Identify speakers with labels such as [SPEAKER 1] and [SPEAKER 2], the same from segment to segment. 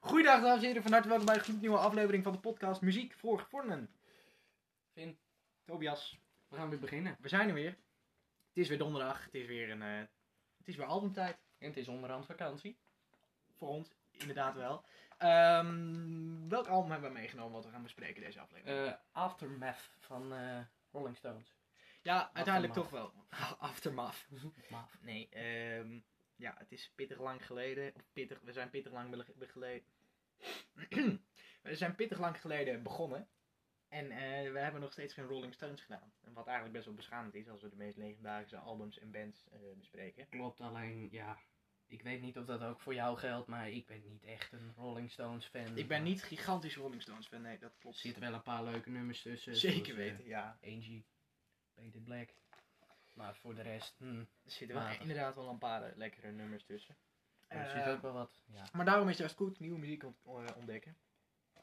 [SPEAKER 1] Goeiedag dames en heren, van harte welkom bij een gloednieuwe aflevering van de podcast Muziek voor Gevormden.
[SPEAKER 2] Vin.
[SPEAKER 1] Tobias,
[SPEAKER 2] We gaan weer beginnen.
[SPEAKER 1] we zijn er weer. Het is weer donderdag, het is weer, een, eh, het is weer albumtijd.
[SPEAKER 2] En het is onderhand vakantie.
[SPEAKER 1] Voor ons, inderdaad wel. Ehm, welk album hebben we meegenomen wat we gaan bespreken deze aflevering?
[SPEAKER 2] Eh, Aftermath van eh, Rolling Stones.
[SPEAKER 1] ja, uiteindelijk toch
[SPEAKER 2] Aftermath.
[SPEAKER 1] wel. Aftermath.
[SPEAKER 2] Maaf.
[SPEAKER 1] Nee, ehm, ja, het is pittig lang geleden. Of pittig, we zijn pittig lang bele- be- geleden. we zijn pittig lang geleden begonnen. En eh, we hebben nog steeds geen Rolling Stones gedaan. En Wat eigenlijk best wel beschamend is als we de meest legendarische albums en bands eh, bespreken.
[SPEAKER 2] Klopt, alleen ja. Ik weet niet of dat ook voor jou geldt, maar ik ben niet echt een Rolling Stones fan.
[SPEAKER 1] Ik ben niet gigantisch Rolling Stones fan, nee, dat
[SPEAKER 2] Er
[SPEAKER 1] klopt.
[SPEAKER 2] zitten wel een paar leuke nummers tussen.
[SPEAKER 1] Zeker
[SPEAKER 2] zoals,
[SPEAKER 1] weten, ja.
[SPEAKER 2] eh, Angie, Painted Black. Maar voor de rest, hm,
[SPEAKER 1] Er zitten wel
[SPEAKER 2] matig.
[SPEAKER 1] inderdaad wel een paar eh, lekkere nummers tussen.
[SPEAKER 2] er
[SPEAKER 1] Eh,
[SPEAKER 2] zit ook wel wat. Ja,
[SPEAKER 1] maar daarom is het juist goed nieuwe muziek ont- eh, ontdekken.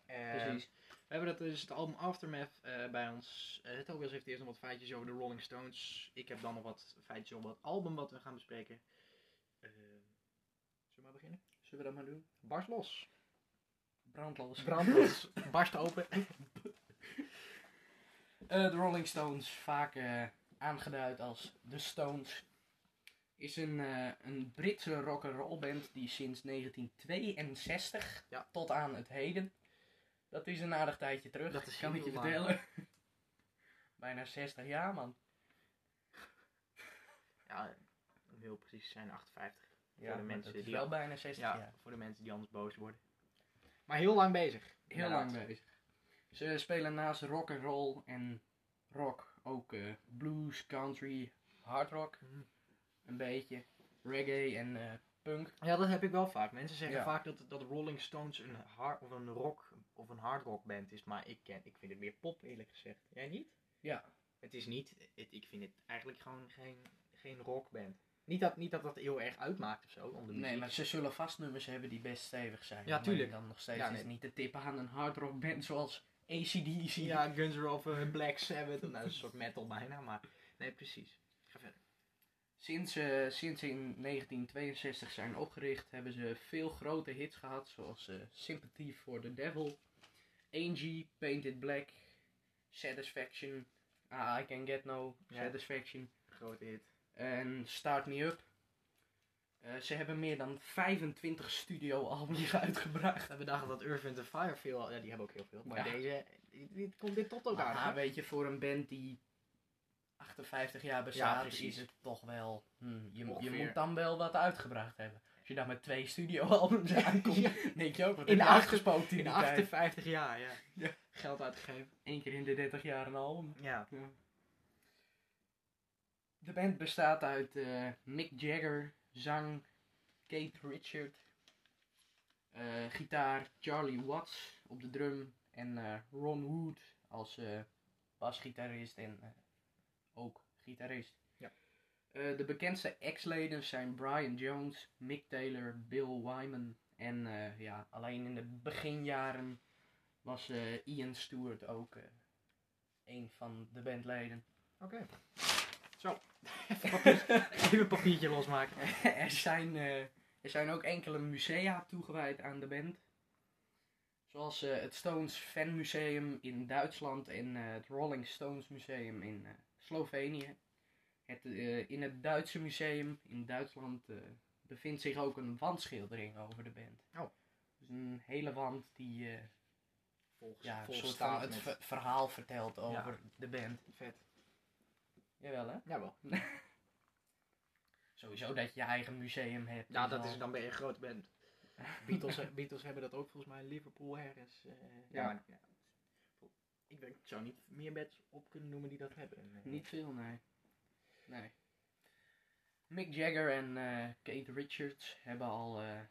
[SPEAKER 1] Eh,
[SPEAKER 2] precies.
[SPEAKER 1] We hebben dat dus het album Aftermath eh, bij ons. Eh Tobias heeft eerst nog wat feitjes over de Rolling Stones. Ik heb dan nog wat feitjes over het album wat we gaan bespreken. Eh, zullen we maar beginnen?
[SPEAKER 2] Zullen we dat maar doen?
[SPEAKER 1] Barst los.
[SPEAKER 2] Brandlos.
[SPEAKER 1] Brand los. Barst open.
[SPEAKER 2] Eh, de Rolling Stones, vaak eh, aangeduid als de Stones, is een, eh, een Britse rock'n'roll band die sinds 1962
[SPEAKER 1] Ja.
[SPEAKER 2] tot aan het heden, dat is een aardig tijdje terug,
[SPEAKER 1] Dat is
[SPEAKER 2] kan
[SPEAKER 1] heel
[SPEAKER 2] ik je
[SPEAKER 1] lang.
[SPEAKER 2] vertellen. Bijna 60 jaar man.
[SPEAKER 1] Ja, om heel precies te zijn 58.
[SPEAKER 2] Ja,
[SPEAKER 1] de
[SPEAKER 2] maar
[SPEAKER 1] mensen
[SPEAKER 2] dat is
[SPEAKER 1] die
[SPEAKER 2] wel
[SPEAKER 1] al-
[SPEAKER 2] bijna 60
[SPEAKER 1] Ja,
[SPEAKER 2] jaar.
[SPEAKER 1] voor de mensen die anders boos worden. Maar heel lang bezig.
[SPEAKER 2] Heel
[SPEAKER 1] Inderdaad.
[SPEAKER 2] lang bezig. Ze spelen naast rock'n'roll en rock ook eh, blues, country, hard rock,
[SPEAKER 1] Mhm.
[SPEAKER 2] een beetje, reggae en eh, punk.
[SPEAKER 1] Ja, dat heb ik wel vaak. Mensen zeggen
[SPEAKER 2] Ja.
[SPEAKER 1] vaak dat, dat Rolling Stones een, hard, of een rock of een hard rock band is. Maar ik, ken, ik vind het meer pop eerlijk gezegd. Jij niet?
[SPEAKER 2] Ja,
[SPEAKER 1] Het is niet, het, ik vind het eigenlijk gewoon geen, geen rockband. Niet dat, niet dat dat heel erg uitmaakt of zo. Om de
[SPEAKER 2] Nee,
[SPEAKER 1] muziek.
[SPEAKER 2] maar ze zullen vast nummers hebben die best stevig zijn.
[SPEAKER 1] Ja,
[SPEAKER 2] Alleen
[SPEAKER 1] tuurlijk.
[SPEAKER 2] Dan nog steeds
[SPEAKER 1] Ja,
[SPEAKER 2] is
[SPEAKER 1] nee.
[SPEAKER 2] niet te tippen aan een hardrock band zoals ACDC.
[SPEAKER 1] Ja, Guns N' Roses, eh, Black Sabbath. nou, dat is een soort metal bijna, maar nee, precies. Ga verder.
[SPEAKER 2] Sinds, eh, sinds ze in 1962 zijn opgericht, hebben ze veel grote hits gehad, zoals eh, Sympathy for the Devil, Angie, Painted Black, Satisfaction, Ah, I Can Get No,
[SPEAKER 1] Ja.
[SPEAKER 2] Satisfaction.
[SPEAKER 1] Grote hit.
[SPEAKER 2] En Start Me Up. Eh, ze hebben meer dan 25 studioalbums uitgebracht.
[SPEAKER 1] We dachten dat Urban the Fire veel, ja, die hebben ook heel veel. Maar
[SPEAKER 2] Ja.
[SPEAKER 1] deze, dit, dit komt dit tot elkaar.
[SPEAKER 2] Maar weet je, voor een band die 58 jaar
[SPEAKER 1] Ja,
[SPEAKER 2] bestaat,
[SPEAKER 1] precies.
[SPEAKER 2] is het toch wel... hmm, je, moet- je
[SPEAKER 1] Ongeveer.
[SPEAKER 2] moet dan wel wat uitgebracht hebben. Als je dan met twee studioalbums aankomt,
[SPEAKER 1] Ja.
[SPEAKER 2] denk je ook, wat
[SPEAKER 1] In
[SPEAKER 2] heb je
[SPEAKER 1] acht-
[SPEAKER 2] uitgespookt in
[SPEAKER 1] In
[SPEAKER 2] die tijd?
[SPEAKER 1] 58 jaar, ja.
[SPEAKER 2] Ja.
[SPEAKER 1] Geld uitgegeven.
[SPEAKER 2] Eén keer in de 30 jaar een album.
[SPEAKER 1] Ja.
[SPEAKER 2] De band bestaat uit eh, Mick Jagger, zang, Kate Richard, eh, gitaar Charlie Watts op de drum en eh, Ron Wood als eh, basgitarist en eh, ook gitarist.
[SPEAKER 1] Ja.
[SPEAKER 2] Eh, de bekendste ex-leden zijn Brian Jones, Mick Taylor, Bill Wyman en eh, ja, alleen in de beginjaren was eh, Ian Stewart ook eh, een van de bandleden.
[SPEAKER 1] Oké. Zo. Even papier- even een papiertje losmaken.
[SPEAKER 2] er, zijn, eh, er zijn ook enkele musea toegewijd aan de band. Zoals eh, het Stones Fan Museum in Duitsland en eh, het Rolling Stones Museum in eh, Slovenië. Het, eh, in het Duitse museum in Duitsland eh, bevindt zich ook een wandschildering over de band.
[SPEAKER 1] Oh.
[SPEAKER 2] Dus een hele wand die eh,
[SPEAKER 1] Volgens,
[SPEAKER 2] ja, een
[SPEAKER 1] volgens
[SPEAKER 2] soort van het
[SPEAKER 1] statement.
[SPEAKER 2] ver- verhaal vertelt over de band.
[SPEAKER 1] Vet.
[SPEAKER 2] Jawel hè?
[SPEAKER 1] Jawel.
[SPEAKER 2] Sowieso dat je je eigen museum hebt.
[SPEAKER 1] Ja, Nou,
[SPEAKER 2] is
[SPEAKER 1] dat
[SPEAKER 2] al-
[SPEAKER 1] is Dus dan ben je een grote band. Beatles, Beatles hebben dat ook volgens mij in Liverpool ergens. eh, ja.
[SPEAKER 2] Ja.
[SPEAKER 1] maar, ja. Ik, denk, ik zou niet meer bands op kunnen noemen die dat hebben. eh, Nee.
[SPEAKER 2] Niet veel, nee. Nee. Mick Jagger en eh, Kate Richards hebben al eh,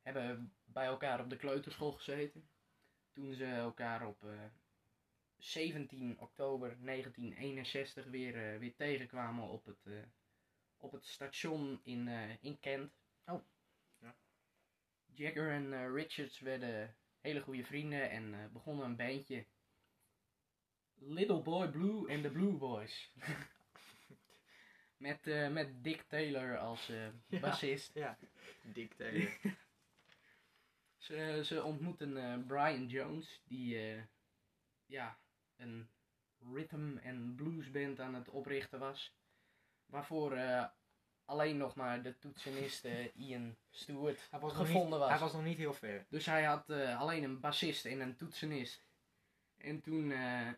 [SPEAKER 2] hebben bij elkaar op de kleuterschool gezeten. Toen ze elkaar op eh, 17 oktober 1961 weer, eh, weer tegenkwamen op het, eh, op het station in, eh, in Kent.
[SPEAKER 1] Oh, ja.
[SPEAKER 2] Jagger en eh, Richards werden hele goede vrienden en eh, begonnen een bandje. Little Boy Blue en de Blue Boys. Met, eh, met Dick Taylor als eh,
[SPEAKER 1] Ja.
[SPEAKER 2] bassist.
[SPEAKER 1] Ja. Dick Taylor.
[SPEAKER 2] Ze, ze ontmoeten eh, Brian Jones, die eh, ja, een rhythm- en bluesband aan het oprichten was. Waarvoor eh, alleen nog maar de toetsenist eh, Ian Stewart
[SPEAKER 1] Hij was nog
[SPEAKER 2] gevonden
[SPEAKER 1] niet-
[SPEAKER 2] was.
[SPEAKER 1] Hij was nog niet heel ver.
[SPEAKER 2] Dus hij had eh, alleen een bassist en een toetsenist. En toen eh,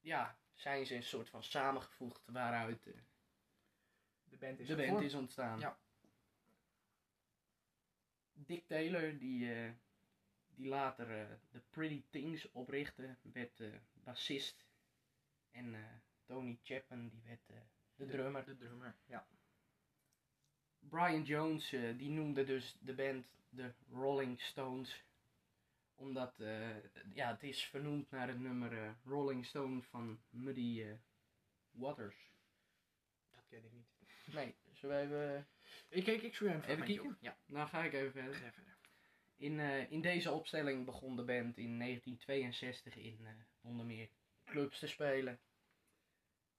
[SPEAKER 2] ja, zijn ze een soort van samengevoegd waaruit eh,
[SPEAKER 1] De band is
[SPEAKER 2] de band
[SPEAKER 1] gevormd.
[SPEAKER 2] is ontstaan.
[SPEAKER 1] Ja.
[SPEAKER 2] Dick Taylor, die, eh, die later eh, The Pretty Things oprichtte, werd eh, bassist. En eh, Tony Chapman, die werd eh, de drummer.
[SPEAKER 1] De drummer, ja.
[SPEAKER 2] Brian Jones eh, die noemde dus de band de Rolling Stones. Omdat eh, ja, het is vernoemd naar het nummer eh, Rolling Stone van Muddy eh, Waters.
[SPEAKER 1] Dat ken ik niet.
[SPEAKER 2] Nee, zullen we even...
[SPEAKER 1] Ik kijk, ik zweer een
[SPEAKER 2] Even
[SPEAKER 1] fragmentje
[SPEAKER 2] kijken?
[SPEAKER 1] op. Ja,
[SPEAKER 2] Nou ga ik even verder.
[SPEAKER 1] ga verder.
[SPEAKER 2] In, eh, in deze opstelling begon de band in 1962 in eh, onder meer clubs te spelen.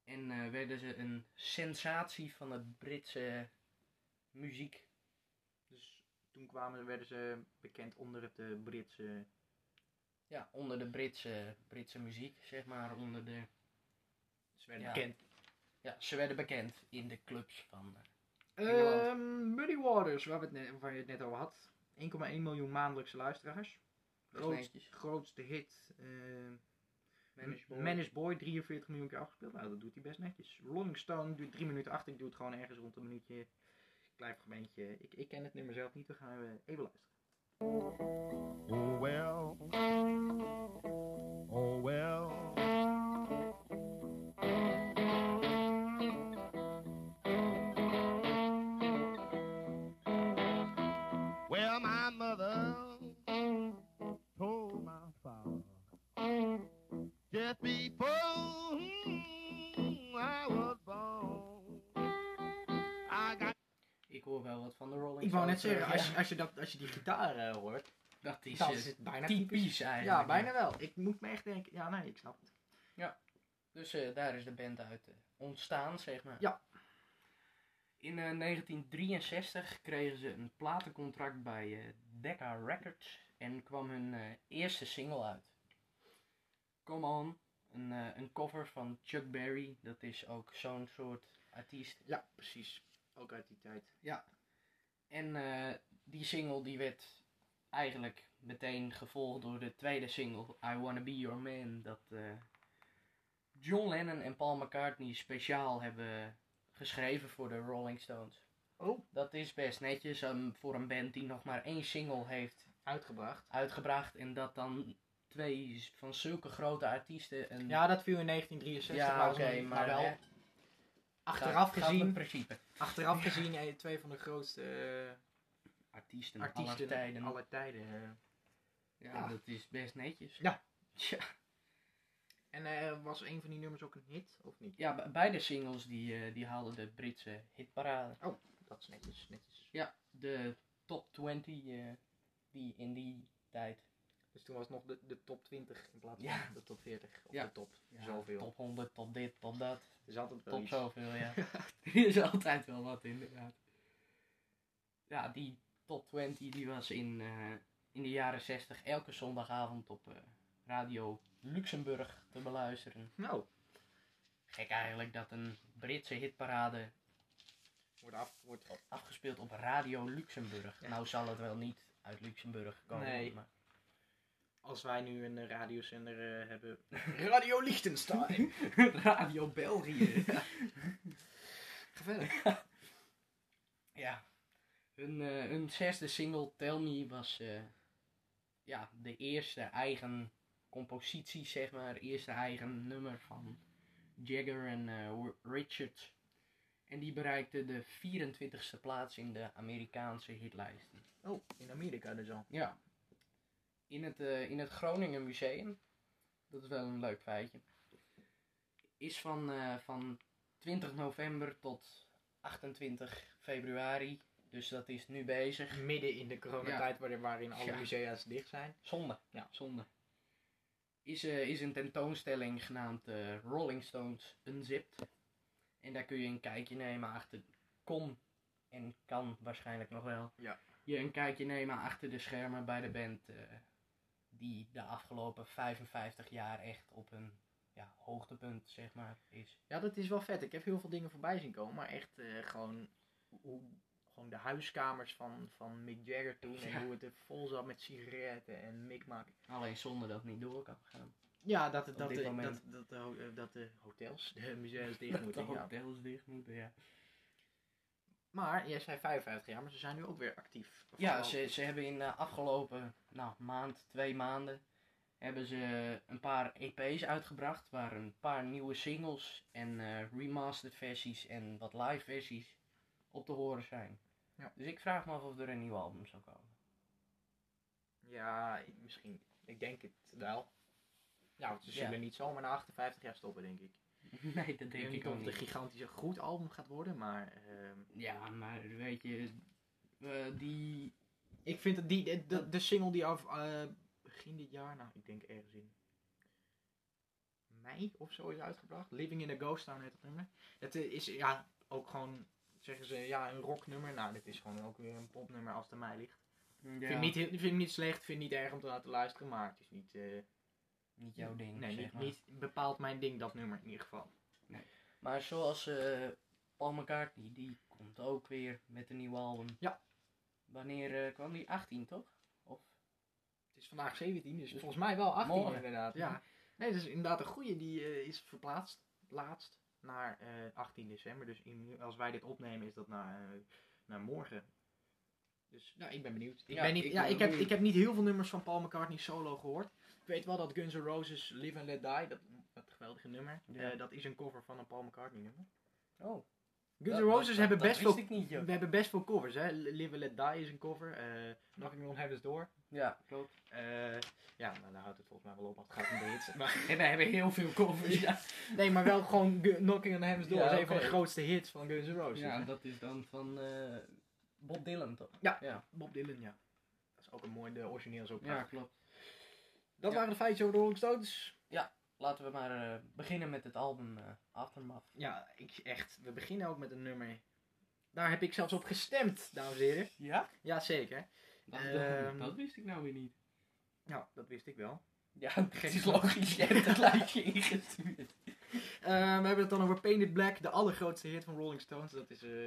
[SPEAKER 2] En eh, werden ze een sensatie van het Britse muziek.
[SPEAKER 1] Dus toen kwamen, werden ze bekend onder het eh, Britse...
[SPEAKER 2] Ja, onder de Britse, Britse muziek, zeg maar. Onder de,
[SPEAKER 1] Ze werden
[SPEAKER 2] Ja.
[SPEAKER 1] bekend.
[SPEAKER 2] ja, ze werden bekend in de clubs van... eh,
[SPEAKER 1] Ehm Muddy Waters, waar we het net, waar je het net over had. 1,1 miljoen maandelijkse luisteraars.
[SPEAKER 2] Dat is netjes.
[SPEAKER 1] grootste hit. eh,
[SPEAKER 2] Managed Boy.
[SPEAKER 1] Managed Boy, 43 miljoen keer afgespeeld. Nou, dat doet hij best netjes. Rolling Stone duurt 3 minuten 8. Ik doe het gewoon ergens rond een minuutje. Klein fragmentje. Ik, ik ken het nummer zelf niet. We gaan eh, even luisteren.
[SPEAKER 3] Oh well, oh well. Well, my mother told my father just before hmm, I was born, I got.
[SPEAKER 2] Ik hoor wel wat van de Rolling
[SPEAKER 1] Ik wou net
[SPEAKER 2] Stones,
[SPEAKER 1] zeggen,
[SPEAKER 2] eh,
[SPEAKER 1] als je,
[SPEAKER 2] ja.
[SPEAKER 1] als je, dat, als je die gitaar eh, hoort,
[SPEAKER 2] Dat is,
[SPEAKER 1] dat
[SPEAKER 2] eh,
[SPEAKER 1] is bijna
[SPEAKER 2] typisch eigenlijk.
[SPEAKER 1] Ja, bijna wel. Ik moet me echt denken, ja nee, ik snap het.
[SPEAKER 2] Dus eh, daar is de band uit eh, ontstaan, zeg maar.
[SPEAKER 1] Ja.
[SPEAKER 2] In eh, 1963 kregen ze een platencontract bij eh, Decca Records en kwam hun eh, eerste single uit. Come On, een, eh, een cover van Chuck Berry, dat is ook zo'n soort artiest.
[SPEAKER 1] Ja, precies. Ook uit die tijd. Ja.
[SPEAKER 2] En eh, die single die werd eigenlijk meteen gevolgd door de tweede single, I Wanna Be Your Man. Dat eh, John Lennon en Paul McCartney speciaal hebben geschreven voor de Rolling Stones.
[SPEAKER 1] Oh,
[SPEAKER 2] Dat is best netjes ehm, voor een band die nog maar één single heeft
[SPEAKER 1] uitgebracht.
[SPEAKER 2] uitgebracht. En dat dan twee z- van zulke grote artiesten een...
[SPEAKER 1] Ja, dat viel in 1963
[SPEAKER 2] Hm. Ja,
[SPEAKER 1] maar
[SPEAKER 2] oké,
[SPEAKER 1] was nog niet-
[SPEAKER 2] maar
[SPEAKER 1] wel.
[SPEAKER 2] hè,
[SPEAKER 1] achteraf
[SPEAKER 2] gaat- gaat met
[SPEAKER 1] gezien,
[SPEAKER 2] principe.
[SPEAKER 1] achteraf gezien, eh, twee van de grootste eh,
[SPEAKER 2] Artiesten,
[SPEAKER 1] artiesten
[SPEAKER 2] aller tijden.
[SPEAKER 1] Aller tijden eh.
[SPEAKER 2] Ja,
[SPEAKER 1] Ja.
[SPEAKER 2] dat is best netjes.
[SPEAKER 1] Ja.
[SPEAKER 2] Tja.
[SPEAKER 1] En eh, was een van die nummers ook een hit, of niet?
[SPEAKER 2] Ja, be- beide singles die, eh, die haalden de Britse hitparade.
[SPEAKER 1] Dat is netjes, netjes.
[SPEAKER 2] Ja, de top 20 eh, die in die tijd.
[SPEAKER 1] Dus toen was het nog de, de top 20 in plaats van
[SPEAKER 2] Ja.
[SPEAKER 1] de top 40. Of
[SPEAKER 2] Ja.
[SPEAKER 1] de top, zoveel.
[SPEAKER 2] Top 100, top dit, top dat.
[SPEAKER 1] Er zat altijd wel
[SPEAKER 2] Top
[SPEAKER 1] iets.
[SPEAKER 2] zoveel, ja. er is altijd wel wat inderdaad. Ja, die top 20 die was in, eh, in de jaren 60 elke zondagavond op eh, Radio Luxemburg te beluisteren.
[SPEAKER 1] Nou,
[SPEAKER 2] Gek eigenlijk dat een Britse hitparade
[SPEAKER 1] wordt af, wordt
[SPEAKER 2] afgespeeld op Radio Luxemburg.
[SPEAKER 1] Ja.
[SPEAKER 2] Nou zal het wel niet uit Luxemburg komen.
[SPEAKER 1] Nee.
[SPEAKER 2] maar-
[SPEAKER 1] Als wij nu een eh, radiozender eh, hebben. Radio Liechtenstein!
[SPEAKER 2] Radio België.
[SPEAKER 1] Ga verder.
[SPEAKER 2] Ja. Hun, eh, hun zesde single, Tell Me, was eh, ja, de eerste eigen compositie, zeg maar. Eerste eigen nummer van Jagger en eh, Wi- Richards. En die bereikte de 24ste plaats in de Amerikaanse hitlijsten.
[SPEAKER 1] Oh, in Amerika dus al.
[SPEAKER 2] Ja. In het, eh, in het Groningen Museum, dat is wel een leuk feitje, is van, eh, van 20 november tot 28 februari, dus dat is nu bezig,
[SPEAKER 1] Midden in de coronatijd waar- waarin alle
[SPEAKER 2] Ja.
[SPEAKER 1] musea's dicht zijn.
[SPEAKER 2] zonde,
[SPEAKER 1] Ja.
[SPEAKER 2] zonde, is, eh, is een tentoonstelling genaamd eh, Rolling Stones Unzipped. En daar kun je een kijkje nemen achter, kon en kan waarschijnlijk nog wel,
[SPEAKER 1] Ja.
[SPEAKER 2] je een kijkje nemen achter de schermen bij de band. eh, die de afgelopen 55 jaar echt op een ja, hoogtepunt, zeg maar, is.
[SPEAKER 1] Ja, dat is wel vet. Ik heb heel veel dingen voorbij zien komen, maar echt eh, gewoon, hoe, gewoon de huiskamers van, van Mick Jagger toen
[SPEAKER 2] Ja.
[SPEAKER 1] en hoe het er vol zat met sigaretten en mikmak.
[SPEAKER 2] Alleen zonder dat het niet door kan gaan.
[SPEAKER 1] Ja, dat, dat,
[SPEAKER 2] dit
[SPEAKER 1] de-
[SPEAKER 2] moment.
[SPEAKER 1] dat, dat, de ho- eh, dat de hotels, de musea's dicht moeten.
[SPEAKER 2] de
[SPEAKER 1] ja.
[SPEAKER 2] hotels dicht moeten, ja.
[SPEAKER 1] Maar jij zei 55 jaar, maar ze zijn nu ook weer actief.
[SPEAKER 2] Ja,
[SPEAKER 1] Vooral-
[SPEAKER 2] ze, ze hebben in de afgelopen nou, maand, twee maanden, hebben ze een paar EP's uitgebracht. Waar een paar nieuwe singles en eh, remastered versies en wat live versies op te horen zijn.
[SPEAKER 1] Ja.
[SPEAKER 2] Dus ik vraag me af of er een nieuw album zou komen.
[SPEAKER 1] Ja, misschien. Ik denk het wel. Ja, want ze
[SPEAKER 2] Ja.
[SPEAKER 1] zullen niet zomaar na 58 jaar stoppen, denk ik.
[SPEAKER 2] nee, dat
[SPEAKER 1] Ik
[SPEAKER 2] denk
[SPEAKER 1] denk
[SPEAKER 2] ik
[SPEAKER 1] niet
[SPEAKER 2] ook
[SPEAKER 1] dat het een
[SPEAKER 2] niet.
[SPEAKER 1] gigantisch goed album gaat worden, maar... ehm,
[SPEAKER 2] Ja, maar weet je, eh, die...
[SPEAKER 1] ik vind dat die, de, de, de single die af... eh, begin dit jaar, nou, ik denk ergens in... Mei of zo is uitgebracht. Living in a Ghost Town heet dat nummer. Dat eh, is, ja, ook gewoon... Zeggen ze, ja, een rocknummer. Nou, dit is gewoon ook weer een popnummer als het aan mij ligt. Ik
[SPEAKER 2] ja,
[SPEAKER 1] Vind, het niet, heel- ik vind het niet slecht, vind het niet erg om te laten luisteren, maar het is niet... eh,
[SPEAKER 2] niet jouw ding,
[SPEAKER 1] Nee,
[SPEAKER 2] zeg
[SPEAKER 1] niet,
[SPEAKER 2] maar.
[SPEAKER 1] niet bepaalt mijn ding, dat nummer in ieder geval.
[SPEAKER 2] Maar zoals eh Paul McCartney, die komt ook weer met een nieuw album.
[SPEAKER 1] Ja.
[SPEAKER 2] Wanneer eh, kwam die? 18, toch? Of?
[SPEAKER 1] Het is vandaag 17, dus volgens mij wel 18
[SPEAKER 2] Morgen.
[SPEAKER 1] inderdaad. Ja. Nee, dat is inderdaad een goede. Die eh, is verplaatst, laatst, naar eh, 18 december. Dus in- als wij dit opnemen is dat naar, eh, naar morgen. Dus nou, ik ben benieuwd. Ik,
[SPEAKER 2] Ja,
[SPEAKER 1] ben niet,
[SPEAKER 2] ik
[SPEAKER 1] ja,
[SPEAKER 2] ben
[SPEAKER 1] ik, heb,
[SPEAKER 2] benieuwd.
[SPEAKER 1] ik heb niet heel veel nummers van Paul McCartney solo gehoord. Ik weet wel dat Guns N' Roses Live and Let Die, dat, dat geweldige nummer,
[SPEAKER 2] Ja.
[SPEAKER 1] eh, dat is een cover van een Paul McCartney nummer.
[SPEAKER 2] Oh.
[SPEAKER 1] Guns
[SPEAKER 2] Dat-
[SPEAKER 1] N' Roses
[SPEAKER 2] dat-
[SPEAKER 1] hebben
[SPEAKER 2] dat
[SPEAKER 1] best
[SPEAKER 2] wist
[SPEAKER 1] veel
[SPEAKER 2] ik niet, joh.
[SPEAKER 1] We hebben best veel covers, hè. Live and Let Die is een cover. eh Knocking on Heaven's Door.
[SPEAKER 2] Ja, klopt.
[SPEAKER 1] Eh, ja, nou, daar houdt het volgens mij wel op, want het gaat om de hits. Maar,
[SPEAKER 2] En wij hebben heel veel covers. Ja,
[SPEAKER 1] nee, maar wel gewoon Gu- Knocking on Heaven's Door.
[SPEAKER 2] Ja,
[SPEAKER 1] is een van de
[SPEAKER 2] oké.
[SPEAKER 1] grootste hits van Guns N' Roses.
[SPEAKER 2] ja dat is dan van eh, Bob Dylan, toch?
[SPEAKER 1] Bob Dylan, ja. Dat is ook een mooi, de origineel is ook
[SPEAKER 2] Ja,
[SPEAKER 1] prachtig.
[SPEAKER 2] klopt.
[SPEAKER 1] Dat
[SPEAKER 2] Ja.
[SPEAKER 1] waren de feitjes over de Rolling Stones.
[SPEAKER 2] Laten we maar eh, beginnen met het album eh, Aftermath.
[SPEAKER 1] Ja, ik echt. We beginnen ook met een nummer. Daar heb ik zelfs op gestemd, dames en heren.
[SPEAKER 2] Ja?
[SPEAKER 1] Jazeker.
[SPEAKER 2] Dat,
[SPEAKER 1] Ehm.
[SPEAKER 2] dat wist ik nou weer niet.
[SPEAKER 1] Nou, dat wist ik wel.
[SPEAKER 2] Ja, het
[SPEAKER 1] Geen
[SPEAKER 2] is
[SPEAKER 1] flauw.
[SPEAKER 2] logisch. Je hebt het lijstje ingestuurd.
[SPEAKER 1] Eh, we hebben het dan over Painted Black, de allergrootste hit van Rolling Stones. Dat is... eh,
[SPEAKER 2] Ja,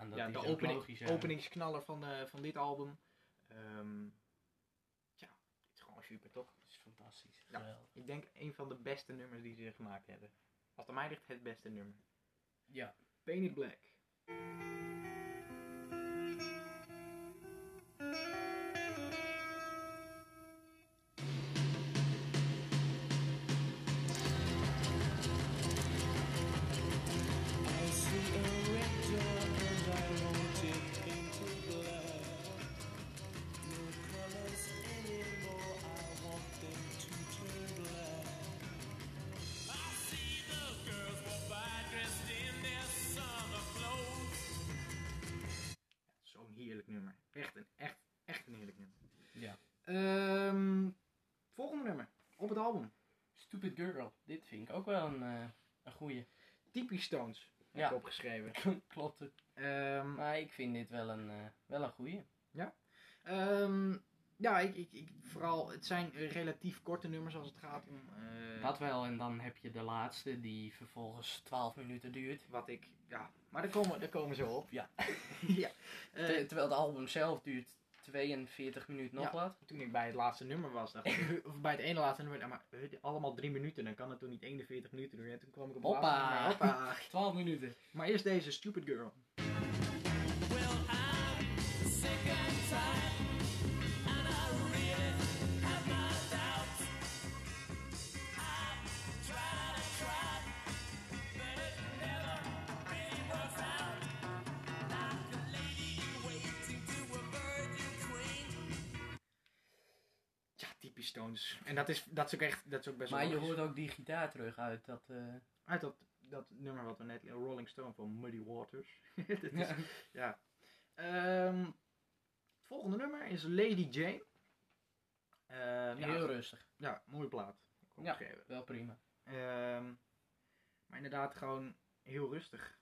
[SPEAKER 2] en dat
[SPEAKER 1] ja,
[SPEAKER 2] is
[SPEAKER 1] de
[SPEAKER 2] ook
[SPEAKER 1] opening,
[SPEAKER 2] logisch. ja.
[SPEAKER 1] openingsknaller van, eh, van dit album. Ehm ja, het is gewoon super, toch?
[SPEAKER 2] Dat is fantastisch.
[SPEAKER 1] Ja.
[SPEAKER 2] Geweldig.
[SPEAKER 1] Ik denk een van de beste nummers die ze gemaakt hebben. Als het aan mij ligt, het beste nummer.
[SPEAKER 2] Ja.
[SPEAKER 1] Painted Black. Zo'n heerlijk nummer. Echt een, echt, echt een heerlijk nummer.
[SPEAKER 2] Ja.
[SPEAKER 1] Ehm, volgende nummer op het album.
[SPEAKER 2] Stupid Girl. Dit vind ik ook wel een, eh, een goeie.
[SPEAKER 1] Typisch Stones. Heb
[SPEAKER 2] Ja.
[SPEAKER 1] ik opgeschreven.
[SPEAKER 2] Klopt het.
[SPEAKER 1] Ehm,
[SPEAKER 2] Maar ik vind dit wel een, eh, wel een goeie.
[SPEAKER 1] Ehm, ja, ik, ik, ik, vooral, het zijn eh, relatief korte nummers als het gaat om... eh,
[SPEAKER 2] Dat wel. En dan heb je de laatste die vervolgens 12 minuten duurt.
[SPEAKER 1] Wat ik, ja. Maar daar komen, daar komen ze op.
[SPEAKER 2] Ja.
[SPEAKER 1] ja. Eh,
[SPEAKER 2] Ter- terwijl het album zelf duurt 42 minuten nog
[SPEAKER 1] Ja.
[SPEAKER 2] wat.
[SPEAKER 1] toen ik bij het laatste nummer was, dacht ik, huh, of bij het ene laatste nummer, nou, maar huh, allemaal drie minuten, dan kan het toch niet 41 minuten duren. En toen kwam ik op het
[SPEAKER 2] Hoppa.
[SPEAKER 1] laatste nummer, hoppa.
[SPEAKER 2] 12 minuten.
[SPEAKER 1] Maar eerst deze, Stupid Girl. Ja, typisch Stones. En dat is, dat is ook echt, dat is ook best
[SPEAKER 2] Maar
[SPEAKER 1] wel
[SPEAKER 2] je
[SPEAKER 1] logisch.
[SPEAKER 2] hoort ook die gitaar terug uit. Dat, eh,
[SPEAKER 1] Uit dat, dat nummer wat we net, Rolling Stone van Muddy Waters. Dit is-
[SPEAKER 2] ja.
[SPEAKER 1] Ja. Ehm, het volgende nummer is Lady Jane. Ehm, ja,
[SPEAKER 2] Heel rustig.
[SPEAKER 1] ja, mooie plaat. Kom
[SPEAKER 2] Ja.
[SPEAKER 1] geven.
[SPEAKER 2] Wel prima.
[SPEAKER 1] Ehm, maar inderdaad, gewoon heel rustig.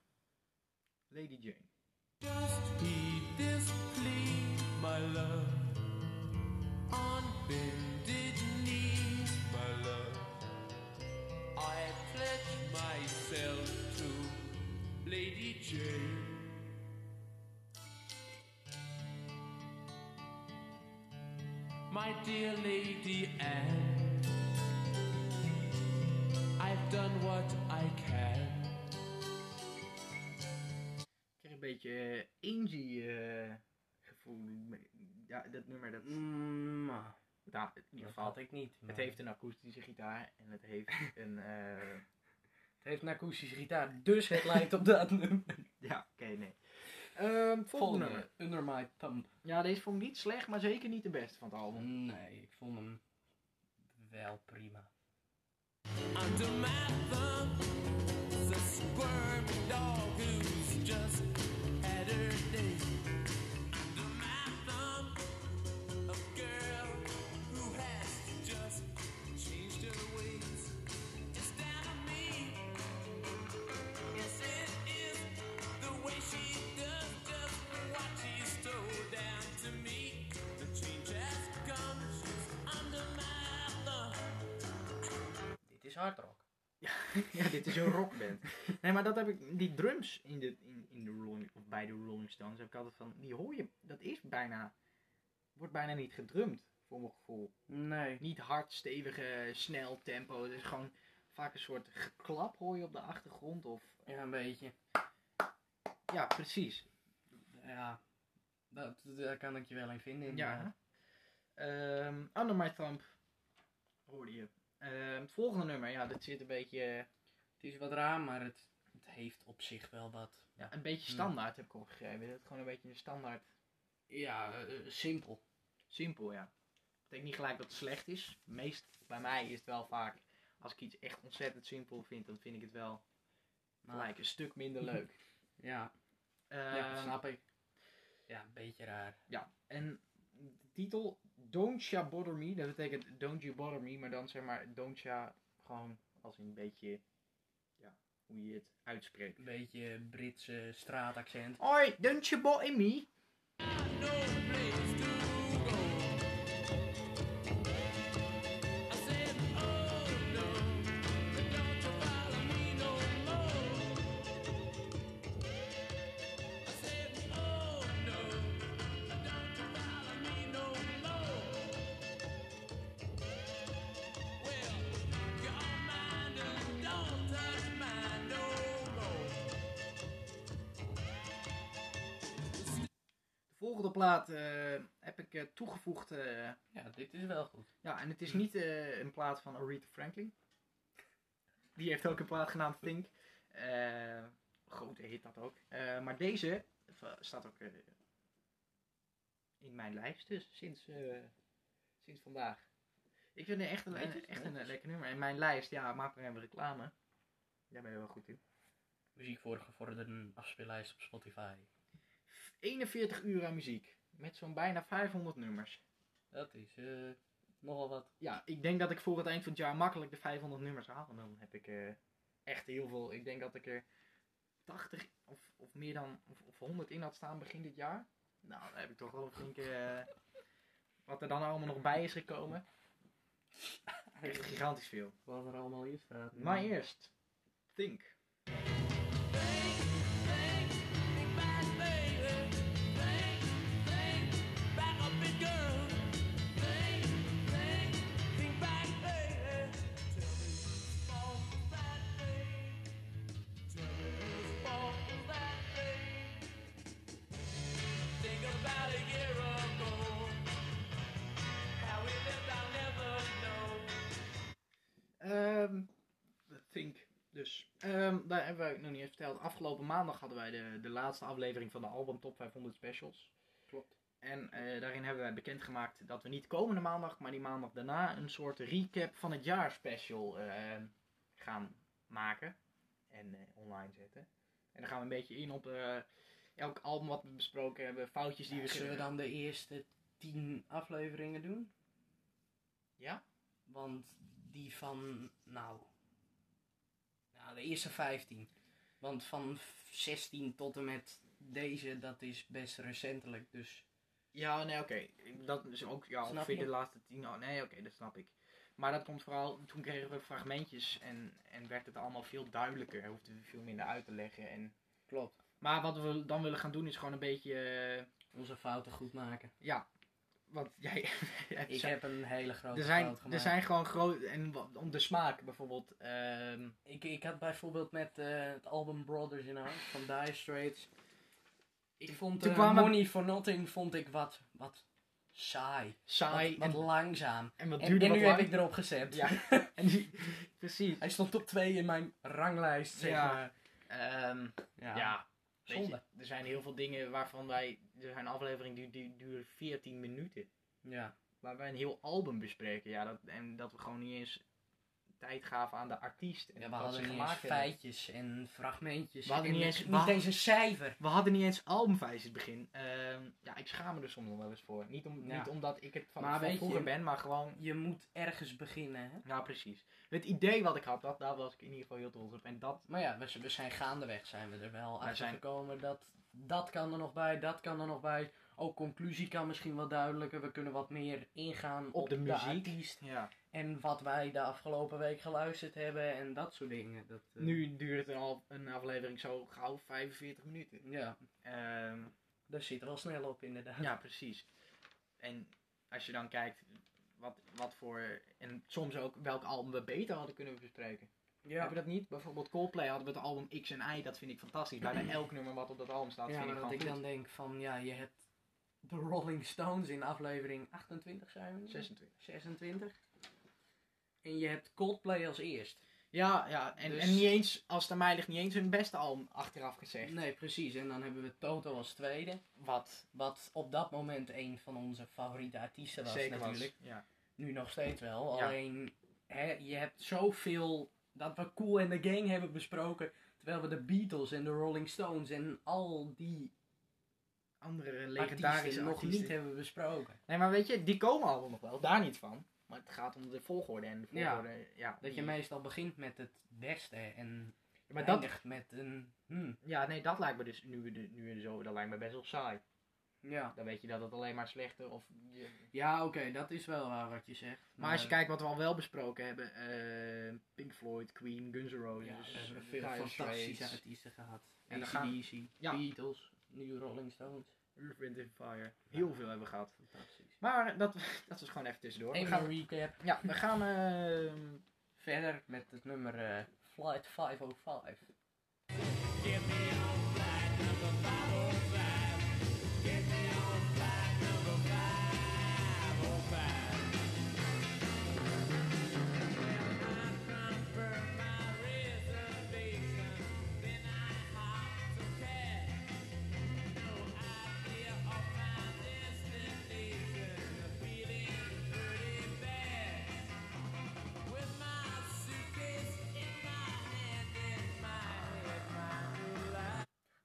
[SPEAKER 1] Lady Jane.
[SPEAKER 3] Just heed this plea
[SPEAKER 4] my love. On bended knees, my love. I pledge myself to Lady Jane. My dear Lady Anne, I've done what I can.
[SPEAKER 1] Ik kreeg een beetje eh, Angie eh, gevoel. Ja, dat nummer, dat...
[SPEAKER 2] Mm, nou,
[SPEAKER 1] Nou, in ieder
[SPEAKER 2] dat
[SPEAKER 1] geval.
[SPEAKER 2] had ik niet. maar-
[SPEAKER 1] Het heeft een akoestische gitaar en het heeft een... eh,
[SPEAKER 2] het heeft een akoestische gitaar, dus het lijkt op dat nummer.
[SPEAKER 1] ja, oké, nee. Ehm, volgende nummer.
[SPEAKER 2] Volgende, Under My Thumb.
[SPEAKER 1] Ja, deze vond ik niet slecht, maar zeker niet de beste van het album.
[SPEAKER 2] Oh, Nee, ik vond hem wel prima.
[SPEAKER 4] Under my thumb is a sperm dog who's just had her day. Under my thumb, a girl who has just changed her ways. It's down to me. Yes, it is the way she does just what she's told down to me. The change has come. She's under my thumb.
[SPEAKER 2] Dit is hard rock.
[SPEAKER 1] ja, dit is een rockband. Nee, maar dat heb ik, die drums in de, in, in de Rolling, of bij de Rolling Stones heb ik altijd van, die hoor je, dat is bijna, wordt bijna niet gedrumd, voor mijn gevoel.
[SPEAKER 2] Nee.
[SPEAKER 1] Niet hard, stevige, snel tempo, het is gewoon vaak een soort geklap hoor je op de achtergrond, of,
[SPEAKER 2] Ja, een beetje.
[SPEAKER 1] ja, precies.
[SPEAKER 2] Ja, dat, daar kan ik je wel in vinden.
[SPEAKER 1] Ja. Ehm Under My Thumb, hoorde je. Ehm, het volgende nummer, ja, dat zit een beetje, eh,
[SPEAKER 2] Het is wat raar, maar het, het heeft op zich wel wat.
[SPEAKER 1] ja, een beetje standaard heb ik opgeschreven. Dat het gewoon een beetje een standaard
[SPEAKER 2] Ja, eh, eh, simpel.
[SPEAKER 1] Simpel, ja. Betekent niet gelijk dat het slecht is. Meest bij mij is het wel vaak, als ik iets echt ontzettend simpel vind, dan vind ik het wel
[SPEAKER 2] Maar-
[SPEAKER 1] gelijk een stuk minder leuk.
[SPEAKER 2] Ja, Nou. ja,
[SPEAKER 1] Ehm,
[SPEAKER 2] snap ik. Ja, een beetje raar.
[SPEAKER 1] ja, en de titel Don't Ya Bother Me, dat betekent Don't You Bother Me, maar dan zeg maar Don't Ya gewoon als een beetje, ja, hoe je het uitspreekt.
[SPEAKER 2] Een beetje Britse straataccent.
[SPEAKER 1] Hoi, Don't You Bother Me.
[SPEAKER 4] No place to go. I said, Oh no, don't you follow me no more. I said, Oh no, don't you follow me no more. Well, your mind and don't touch mine no more.
[SPEAKER 1] De volgende plaat eh, heb ik eh, toegevoegd. eh,
[SPEAKER 2] Ja, dit is wel goed.
[SPEAKER 1] Ja, en het is niet eh, een plaat van Aretha Franklin. Die heeft ook een plaat genaamd Think. Eh, grote hit dat ook. Eh, maar deze v- staat ook eh, in mijn lijst dus sinds, eh, sinds vandaag. Ik vind het echt een,
[SPEAKER 2] Weet je?
[SPEAKER 1] echt een eh, lekker nummer. En mijn lijst, ja, maak maar even reclame. Daar ben je wel goed in.
[SPEAKER 2] Muziek voor gevorderden afspeellijst op Spotify.
[SPEAKER 1] 41 uur aan muziek. Met zo'n bijna 500 nummers.
[SPEAKER 2] Dat is eh, nogal wat.
[SPEAKER 1] Ja, ik denk dat ik voor het eind van het jaar makkelijk de 500 nummers haal. En dan heb ik eh, echt heel veel. Ik denk dat ik er 80 of, of meer dan of, of 100 in had staan begin dit jaar. Nou, dan heb ik toch wel een flinke... eh, wat er dan allemaal nog bij is gekomen. Echt gigantisch veel.
[SPEAKER 2] Wat er allemaal in staat.
[SPEAKER 1] Maar eerst, Think.
[SPEAKER 4] About a year ago, how we lived, I'll never know.
[SPEAKER 1] Ehm, think, dus. Ehm, daar hebben wij nog niet eens verteld. Afgelopen maandag hadden wij de, de laatste aflevering van de album Top 500 Specials.
[SPEAKER 2] Klopt.
[SPEAKER 1] En eh, daarin hebben wij bekendgemaakt dat we niet komende maandag, maar die maandag daarna een soort recap van het jaar special eh, gaan maken. En eh, online zetten. En dan gaan we een beetje in op eh, elk album wat we besproken hebben, foutjes die we
[SPEAKER 2] Zullen we dan de eerste tien afleveringen doen?
[SPEAKER 1] Ja?
[SPEAKER 2] Want die van, nou, nou de eerste 15. Want van 16 tot en met deze, dat is best recentelijk. Dus
[SPEAKER 1] Ja, nee, oké. Dat is ook ja,
[SPEAKER 2] Snap
[SPEAKER 1] ongeveer
[SPEAKER 2] je?
[SPEAKER 1] de laatste tien jaar. Nee, oké, dat snap ik. Maar dat komt vooral, toen kregen we fragmentjes en, en werd het allemaal veel duidelijker. Hoefden we veel minder uit te leggen. En...
[SPEAKER 2] Klopt.
[SPEAKER 1] Maar wat we dan willen gaan doen is gewoon een beetje, eh,
[SPEAKER 2] Onze fouten goed maken.
[SPEAKER 1] ja, want jij...
[SPEAKER 2] Ik heb een hele grote
[SPEAKER 1] er, zijn,
[SPEAKER 2] fout gemaakt.
[SPEAKER 1] er zijn gewoon groot, en wat- om de smaak bijvoorbeeld, ehm,
[SPEAKER 2] Ik, ik had bijvoorbeeld met eh, het album Brothers in Arms van Dire Straits. Ik vond
[SPEAKER 1] Toen
[SPEAKER 2] eh,
[SPEAKER 1] kwamen-
[SPEAKER 2] Money for Nothing vond ik wat, wat saai.
[SPEAKER 1] saai
[SPEAKER 2] Wat, wat
[SPEAKER 1] en,
[SPEAKER 2] langzaam.
[SPEAKER 1] en wat
[SPEAKER 2] En,
[SPEAKER 1] duurde
[SPEAKER 2] en nu
[SPEAKER 1] wat
[SPEAKER 2] heb
[SPEAKER 1] lang.
[SPEAKER 2] ik erop gezet.
[SPEAKER 1] Ja, en die, precies.
[SPEAKER 2] Hij stond op 2 in mijn ranglijst, zeg
[SPEAKER 1] Ja.
[SPEAKER 2] maar.
[SPEAKER 1] Ehm,
[SPEAKER 2] Ja.
[SPEAKER 1] ja, weet je,
[SPEAKER 2] Zonde.
[SPEAKER 1] er zijn heel veel dingen waarvan wij, er zijn afleveringen die, die duren 14 minuten.
[SPEAKER 2] Ja.
[SPEAKER 1] waar wij een heel album bespreken. Ja, dat, en dat we gewoon niet eens tijd gaven aan de artiest. En
[SPEAKER 2] Ja, we
[SPEAKER 1] wat
[SPEAKER 2] hadden
[SPEAKER 1] ze
[SPEAKER 2] niet eens
[SPEAKER 1] gemaakt hebben.
[SPEAKER 2] feitjes en fragmentjes.
[SPEAKER 1] We hadden
[SPEAKER 2] en
[SPEAKER 1] niet
[SPEAKER 2] ik-
[SPEAKER 1] eens-
[SPEAKER 2] niet
[SPEAKER 1] we-
[SPEAKER 2] eens een cijfer.
[SPEAKER 1] We hadden niet eens albumfeitjes in het begin. Ehm, ja, ik schaam me er soms nog wel eens voor. Niet, om,
[SPEAKER 2] Ja.
[SPEAKER 1] niet omdat ik het van,
[SPEAKER 2] Maar weet
[SPEAKER 1] van
[SPEAKER 2] je-
[SPEAKER 1] vroeger ben, maar gewoon...
[SPEAKER 2] Je moet ergens beginnen, hè?
[SPEAKER 1] Nou, precies. Het idee wat ik had, dat, daar was ik in ieder geval heel trots op. En dat...
[SPEAKER 2] Maar ja, we, z- we zijn gaandeweg zijn we er wel
[SPEAKER 1] Wij
[SPEAKER 2] achter
[SPEAKER 1] zijn-
[SPEAKER 2] gekomen dat dat kan er nog bij, dat kan er nog bij. Ook conclusie kan misschien wat duidelijker. We kunnen wat meer ingaan op,
[SPEAKER 1] de muziek.
[SPEAKER 2] artiest
[SPEAKER 1] Ja.
[SPEAKER 2] en wat wij de afgelopen week geluisterd hebben en dat soort dingen. Dat, eh,
[SPEAKER 1] Nu duurt een, al, een aflevering zo gauw 45 minuten.
[SPEAKER 2] Ja,
[SPEAKER 1] Ehm,
[SPEAKER 2] daar zit wel snel op inderdaad.
[SPEAKER 1] Ja, precies. En als je dan kijkt wat, wat voor... En soms ook welk album we beter hadden kunnen bespreken. Heb je dat niet? Bijvoorbeeld Coldplay hadden we het album X en Y, dat vind ik fantastisch. Bijna elk nummer wat op dat album staat,
[SPEAKER 2] ja,
[SPEAKER 1] vind ik
[SPEAKER 2] maar dat
[SPEAKER 1] gewoon
[SPEAKER 2] ik
[SPEAKER 1] goed.
[SPEAKER 2] dan denk van, ja, je hebt de Rolling Stones in aflevering 28 zijn we nu?
[SPEAKER 1] 26.
[SPEAKER 2] 26. En je hebt Coldplay als eerst.
[SPEAKER 1] Ja, ja. En,
[SPEAKER 2] Dus-
[SPEAKER 1] en niet eens, als het aan mij ligt, niet eens hun beste album achteraf gezegd.
[SPEAKER 2] Nee, precies. En dan hebben we Toto als tweede.
[SPEAKER 1] Wat
[SPEAKER 2] Wat op dat moment een van onze favoriete artiesten was
[SPEAKER 1] zeker
[SPEAKER 2] natuurlijk.
[SPEAKER 1] was. Ja.
[SPEAKER 2] Nu nog steeds wel.
[SPEAKER 1] Ja.
[SPEAKER 2] Alleen, hè, je hebt zoveel dat we Cool en de Gang hebben besproken. Terwijl we de Beatles en de Rolling Stones en al die
[SPEAKER 1] Andere
[SPEAKER 2] artiesten
[SPEAKER 1] legendarische
[SPEAKER 2] nog
[SPEAKER 1] artiesten.
[SPEAKER 2] niet hebben besproken.
[SPEAKER 1] Nee, maar weet je, die komen allemaal nog wel. Daar niet van. Maar het gaat om de volgorde en de
[SPEAKER 2] Ja.
[SPEAKER 1] volgorde. Ja,
[SPEAKER 2] Dat je
[SPEAKER 1] die-
[SPEAKER 2] meestal begint met het beste en
[SPEAKER 1] Maar dat,
[SPEAKER 2] eindigt met een... hmm,
[SPEAKER 1] ja, nee, dat lijkt me dus nu, we de- nu en zo, dat lijkt me best wel saai.
[SPEAKER 2] ja,
[SPEAKER 1] Dan weet je dat het alleen maar slechter of...
[SPEAKER 2] ja oké, dat is wel waar wat je zegt.
[SPEAKER 1] Maar als je kijkt wat we al wel besproken hebben, eh, Pink Floyd, Queen, Guns N' Roses,
[SPEAKER 2] Ja, we hebben
[SPEAKER 1] eh,
[SPEAKER 2] veel
[SPEAKER 1] Dire
[SPEAKER 2] fantastische
[SPEAKER 1] Straits,
[SPEAKER 2] artiesten gehad.
[SPEAKER 1] En
[SPEAKER 2] En
[SPEAKER 1] dan
[SPEAKER 2] AC/DC,
[SPEAKER 1] gaan- Ja.
[SPEAKER 2] Beatles, nu Rolling Stones.
[SPEAKER 1] Earth, Wind and Fire. Heel veel hebben we gehad.
[SPEAKER 2] Fantastisch.
[SPEAKER 1] Maar dat, dat was gewoon even tussendoor. We
[SPEAKER 2] Even
[SPEAKER 1] gaan,
[SPEAKER 2] een recap.
[SPEAKER 1] ja, we gaan... ehm,
[SPEAKER 2] Verder met het nummer eh, Flight 505.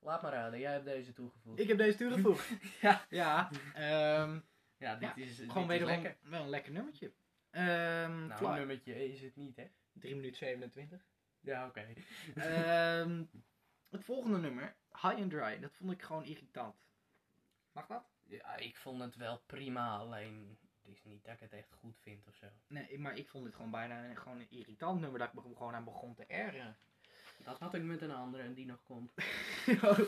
[SPEAKER 2] Laat maar raden, jij hebt deze toegevoegd.
[SPEAKER 1] ik heb deze toegevoegd.
[SPEAKER 2] Ja.
[SPEAKER 1] Ja. ehm,
[SPEAKER 2] Ja, dit
[SPEAKER 1] Ja,
[SPEAKER 2] is dit
[SPEAKER 1] gewoon
[SPEAKER 2] is
[SPEAKER 1] wederom
[SPEAKER 2] lekker.
[SPEAKER 1] wel een lekker nummertje. Ehm
[SPEAKER 2] Nou,
[SPEAKER 1] Fly.
[SPEAKER 2] een nummertje is het niet, hè?
[SPEAKER 1] 3 minuten 27.
[SPEAKER 2] Ja, oké.
[SPEAKER 1] Ehm, het volgende nummer, High and Dry, dat vond ik gewoon irritant. Mag dat?
[SPEAKER 2] Ja, ik vond het wel prima, alleen het is niet dat ik het echt goed vind of zo.
[SPEAKER 1] Nee, ik- maar ik vond het gewoon bijna een, gewoon een irritant nummer dat ik me gewoon aan begon te ergeren.
[SPEAKER 2] Dat had ik met een andere die nog komt.
[SPEAKER 1] Oh,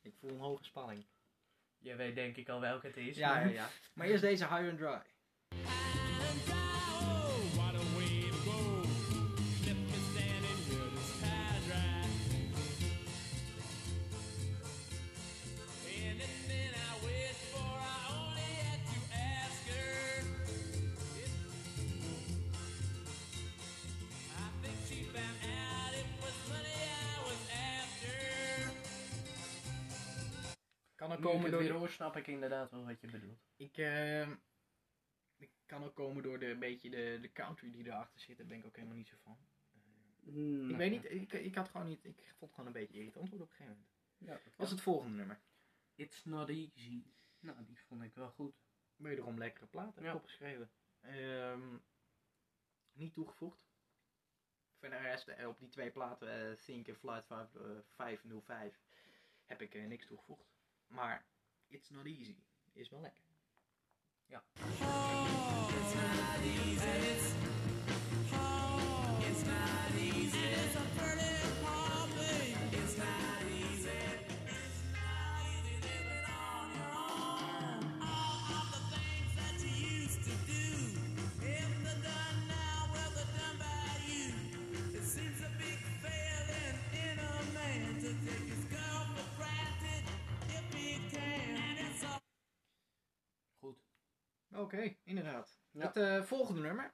[SPEAKER 1] ik voel een hoge spanning.
[SPEAKER 2] Jij weet denk ik al welke het is.
[SPEAKER 1] Ja, ja,
[SPEAKER 2] maar-
[SPEAKER 1] ja. Maar eerst deze High and Dry. Kan ook
[SPEAKER 2] Nu ik
[SPEAKER 1] komen
[SPEAKER 2] het
[SPEAKER 1] door...
[SPEAKER 2] weer hoor, snap ik inderdaad wel wat je bedoelt.
[SPEAKER 1] Ik, ehm, ik kan ook komen door de een beetje de, de country die erachter zit. Daar ben ik ook helemaal niet zo van.
[SPEAKER 2] Nou,
[SPEAKER 1] Ik weet niet, ik, ik had gewoon niet, ik vond het gewoon een beetje irritant worden op een gegeven moment.
[SPEAKER 2] Ja,
[SPEAKER 1] Wat is het volgende nummer?
[SPEAKER 2] It's Not Easy. Nou, die vond ik wel goed.
[SPEAKER 1] Wederom lekkere plaat, heb ik
[SPEAKER 2] Ja.
[SPEAKER 1] opgeschreven. Ehm, niet toegevoegd. Verder rest eh, op die twee platen, eh, Think en Flight 5, eh, 505, heb ik eh, niks toegevoegd. Maar It's Not Easy is wel lekker.
[SPEAKER 2] Goed.
[SPEAKER 1] Oké, inderdaad.
[SPEAKER 2] Ja.
[SPEAKER 1] Het eh, volgende nummer.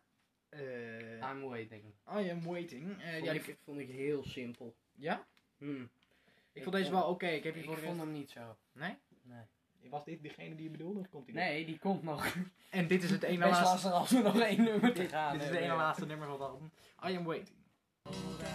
[SPEAKER 1] eh,
[SPEAKER 2] I'm waiting.
[SPEAKER 1] I am waiting. Eh,
[SPEAKER 2] Vond,
[SPEAKER 1] ja,
[SPEAKER 2] ik,
[SPEAKER 1] ik,
[SPEAKER 2] vond ik heel simpel.
[SPEAKER 1] ja?
[SPEAKER 2] Hmm.
[SPEAKER 1] ik vond deze wel oké. Ik heb
[SPEAKER 2] Ik,
[SPEAKER 1] hier voor de
[SPEAKER 2] vond
[SPEAKER 1] rest-
[SPEAKER 2] hem niet zo.
[SPEAKER 1] Nee?
[SPEAKER 2] Nee.
[SPEAKER 1] Was dit degene die je bedoelde? Of komt die
[SPEAKER 2] Nee, die komt nog.
[SPEAKER 1] nog? En dit is het ene
[SPEAKER 2] Best
[SPEAKER 1] laatste.
[SPEAKER 2] lastig als we nog één nummer te
[SPEAKER 1] Dit,
[SPEAKER 2] gaan
[SPEAKER 1] dit is het
[SPEAKER 2] hebben,
[SPEAKER 1] ene
[SPEAKER 2] ja.
[SPEAKER 1] laatste nummer van het album. I am waiting.
[SPEAKER 4] Oh,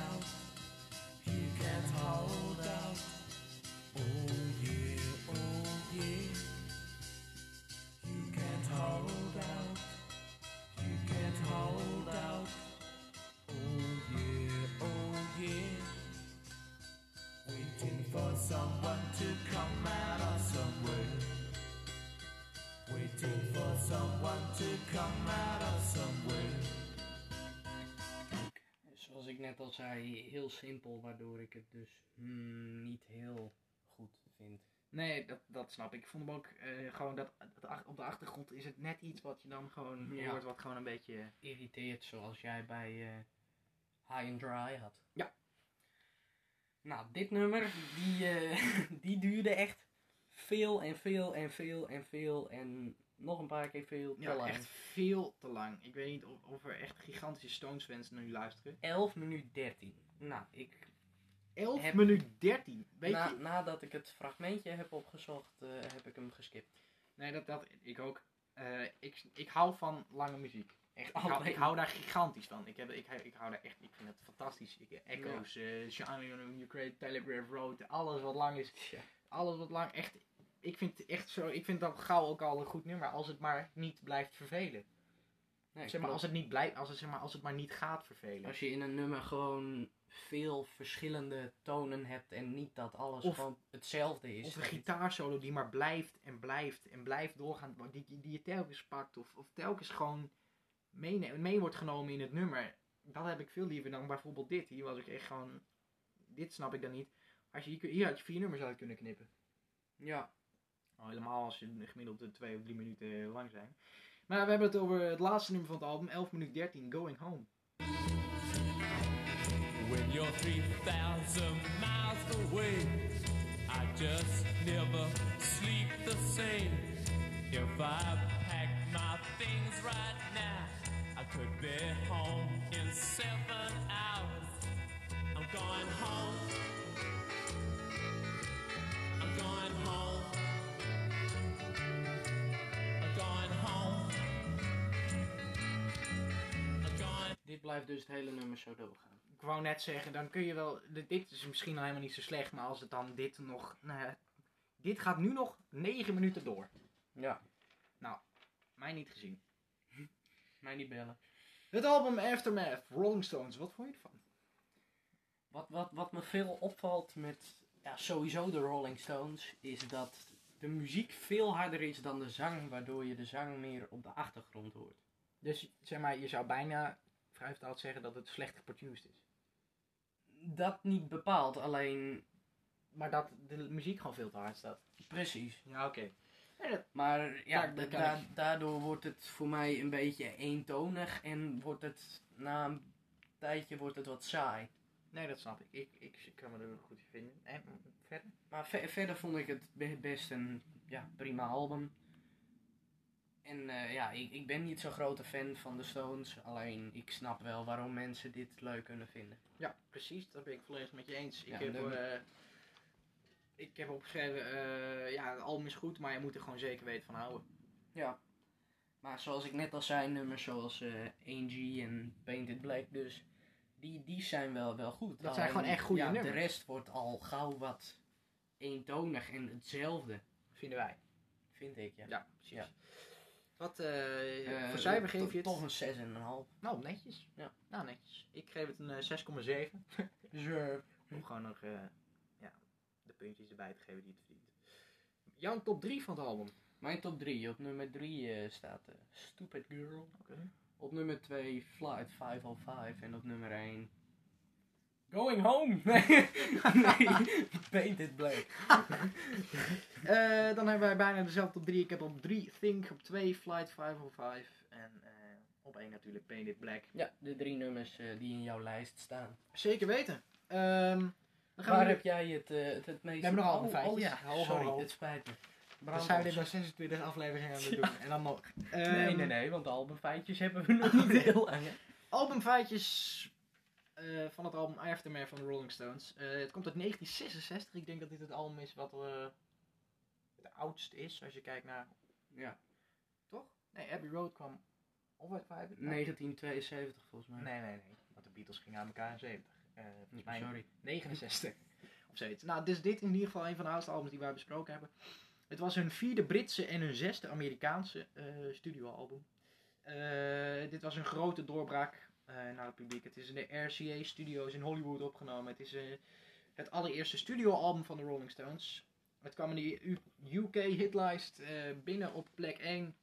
[SPEAKER 4] Oh,
[SPEAKER 2] Zoals ik net al zei, heel simpel, waardoor ik het dus hmm, niet heel goed vind.
[SPEAKER 1] Nee, dat, dat snap ik. Ik vond hem ook eh, gewoon dat, dat ach- op de achtergrond is het net iets wat je dan gewoon
[SPEAKER 2] Ja.
[SPEAKER 1] hoort, wat gewoon een beetje.
[SPEAKER 2] Irriteert zoals jij bij eh, High and Dry had.
[SPEAKER 1] Ja.
[SPEAKER 2] Nou, dit nummer, die, eh, die duurde echt veel en veel en veel en veel en nog een paar keer veel.
[SPEAKER 1] Ja,
[SPEAKER 2] te lang.
[SPEAKER 1] echt veel te lang. Ik weet niet of, of er echt gigantische Stones fans naar nu luisteren.
[SPEAKER 2] 11 minuut 13. Nou, ik,
[SPEAKER 1] 11
[SPEAKER 2] Heb-
[SPEAKER 1] minuut 13. Weet
[SPEAKER 2] na,
[SPEAKER 1] je?
[SPEAKER 2] nadat ik het fragmentje heb opgezocht, eh, heb ik hem geskipt.
[SPEAKER 1] Nee, dat, dat ik ook. Eh, ik, ik hou van lange muziek. Echt, ik, hou,
[SPEAKER 2] Alleen.
[SPEAKER 1] ik hou daar gigantisch van. Ik, heb, ik, ik hou daar echt, ik vind het fantastisch. Ik, Echo's, eh Shine on Your Great Telegraph Road, alles wat lang is.
[SPEAKER 2] Tja.
[SPEAKER 1] Alles wat lang, echt. Ik vind, het echt zo, ik vind dat gauw ook al een goed nummer, als het maar niet blijft vervelen.
[SPEAKER 2] Nee,
[SPEAKER 1] zeg maar,
[SPEAKER 2] klopt.
[SPEAKER 1] als het, niet blijft, als, het, zeg maar, als het maar niet gaat vervelen.
[SPEAKER 2] Als je in een nummer gewoon veel verschillende tonen hebt en niet dat alles
[SPEAKER 1] Of-
[SPEAKER 2] gewoon hetzelfde is.
[SPEAKER 1] Of een gitaarsolo die maar blijft en blijft en blijft doorgaan. wa- Die, die, die je telkens pakt of, of telkens gewoon mee, mee wordt genomen in het nummer. Dat heb ik veel liever dan bijvoorbeeld dit. Hier was ik echt gewoon... Dit snap ik dan niet. Als je, hier kun- hier had je vier nummers uit kunnen knippen.
[SPEAKER 2] Ja,
[SPEAKER 1] Al helemaal als je gemiddeld eh, twee of drie minuten lang zijn. Maar we hebben het over het laatste nummer van het album. 11 minuut 13, Going Home.
[SPEAKER 4] When you're 3,000 miles away, I just never sleep the same. If I packed my things right now, I could be home in seven hours. I'm going home. I'm going home. I'm going home. I'm going
[SPEAKER 2] dit blijft dus het hele nummer zo doorgaan.
[SPEAKER 1] Ik wou net zeggen, dan kun je wel... dit- Dit is misschien helemaal niet zo slecht, maar als het dan dit nog... Nou ja, dit gaat nu nog 9 minuten door.
[SPEAKER 2] Ja.
[SPEAKER 1] Mij niet gezien.
[SPEAKER 2] Mij niet bellen.
[SPEAKER 1] Het album Aftermath, Rolling Stones, wat vond je ervan?
[SPEAKER 2] Wat, wat, wat me veel opvalt met ja, sowieso de Rolling Stones, is dat de muziek veel harder is dan de zang, waardoor je de zang meer op de achtergrond hoort.
[SPEAKER 1] Dus zeg maar, je zou bijna vrijvertaald zeggen dat het slecht geproduced is.
[SPEAKER 2] Dat niet bepaald, alleen
[SPEAKER 1] Maar dat de muziek gewoon veel te hard staat.
[SPEAKER 2] precies.
[SPEAKER 1] Ja, oké. Nee, dat-
[SPEAKER 2] Maar ja,
[SPEAKER 1] Daar- daar
[SPEAKER 2] da-
[SPEAKER 1] kan
[SPEAKER 2] da- daardoor wordt het voor mij een beetje eentonig en wordt het na een tijdje wordt het wat saai.
[SPEAKER 1] nee, dat snap ik. Ik, ik, kan me er goed in vinden. En mm, verder?
[SPEAKER 2] Maar ver- verder vond ik het be- best een ja, prima album. En eh, ja, ik, ik ben niet zo'n grote fan van de Stones, alleen ik snap wel waarom mensen dit leuk kunnen vinden.
[SPEAKER 1] Ja, precies. Dat ben ik volledig met je eens. Ik
[SPEAKER 2] Ja,
[SPEAKER 1] heb...
[SPEAKER 2] dan-
[SPEAKER 1] eh, ik heb opgeschreven, eh, ja, het album is goed, maar je moet er gewoon zeker weten van houden.
[SPEAKER 2] Ja. Maar zoals ik net al zei, nummers zoals eh Angie en Painted Black, dus die, die zijn wel, wel goed.
[SPEAKER 1] Dat zijn gewoon echt goede
[SPEAKER 2] ja,
[SPEAKER 1] nummers.
[SPEAKER 2] de rest wordt al gauw wat eentonig en hetzelfde,
[SPEAKER 1] Vinden wij.
[SPEAKER 2] vind ik. Ja.
[SPEAKER 1] Ja, precies.
[SPEAKER 2] Ja.
[SPEAKER 1] Wat eh,
[SPEAKER 2] Eh,
[SPEAKER 1] voor cijfer
[SPEAKER 2] to-
[SPEAKER 1] geef je het?
[SPEAKER 2] Toch een 6,5.
[SPEAKER 1] Nou, netjes.
[SPEAKER 2] Ja.
[SPEAKER 1] Nou, netjes. Ik geef het een eh, 6,7.
[SPEAKER 2] Dus, eh,
[SPEAKER 1] Om gewoon nog eh, ja, de puntjes erbij te geven die het verdient. Jouw top 3 van het album.
[SPEAKER 2] Mijn top 3. Op nummer 3 staat eh, Stupid Girl.
[SPEAKER 1] Oké.
[SPEAKER 2] Op nummer 2 Flight 505. En op nummer 1 Going Home. Nee, nee. Painted Black.
[SPEAKER 1] Eh, dan hebben wij bijna dezelfde top 3. Ik heb op 3 Think, op 2 Flight 505 en eh, op 1 natuurlijk Painted Black.
[SPEAKER 2] Ja, de drie nummers eh, die in jouw lijst staan.
[SPEAKER 1] Zeker weten. Ehm, dan gaan
[SPEAKER 2] Waar
[SPEAKER 1] we
[SPEAKER 2] heb jij het, eh, het, het meest...
[SPEAKER 1] We hebben nog andere
[SPEAKER 2] oh,
[SPEAKER 1] feitjes.
[SPEAKER 2] oh ja,
[SPEAKER 1] Ho, ho,
[SPEAKER 2] sorry,
[SPEAKER 1] ho.
[SPEAKER 2] het spijt me.
[SPEAKER 1] dan
[SPEAKER 2] Brand
[SPEAKER 1] zijn we
[SPEAKER 2] ons.
[SPEAKER 1] dit nog 26 afleveringen aan het doen. En dan nog.
[SPEAKER 2] Nee,
[SPEAKER 1] Ehm,
[SPEAKER 2] nee, nee, want de albumfeitjes hebben we nog niet heel lang. hè.
[SPEAKER 1] Albumfeitjes eh, van het album Aftermath van de Rolling Stones. Eh, het komt uit 1966. Ik denk dat dit het album is wat eh, het oudst is als je kijkt naar.
[SPEAKER 2] Ja,
[SPEAKER 1] Toch? Nee, Abbey Road kwam. Of uit 95?
[SPEAKER 2] 1972 volgens mij.
[SPEAKER 1] Nee, nee, nee. Want de Beatles gingen aan elkaar in 70. Eh volgens mij
[SPEAKER 2] Sorry.
[SPEAKER 1] 69. of zoiets. Nou, dus dit is in ieder geval een van de oudste albums die wij besproken hebben. Het was hun vierde Britse en hun zesde Amerikaanse eh, studioalbum. Eh, dit was een grote doorbraak eh, naar het publiek. Het is in de RCA Studios in Hollywood opgenomen. Het is eh, het allereerste studioalbum van de Rolling Stones. Het kwam in de U- UK hitlijst eh, binnen op plek 1.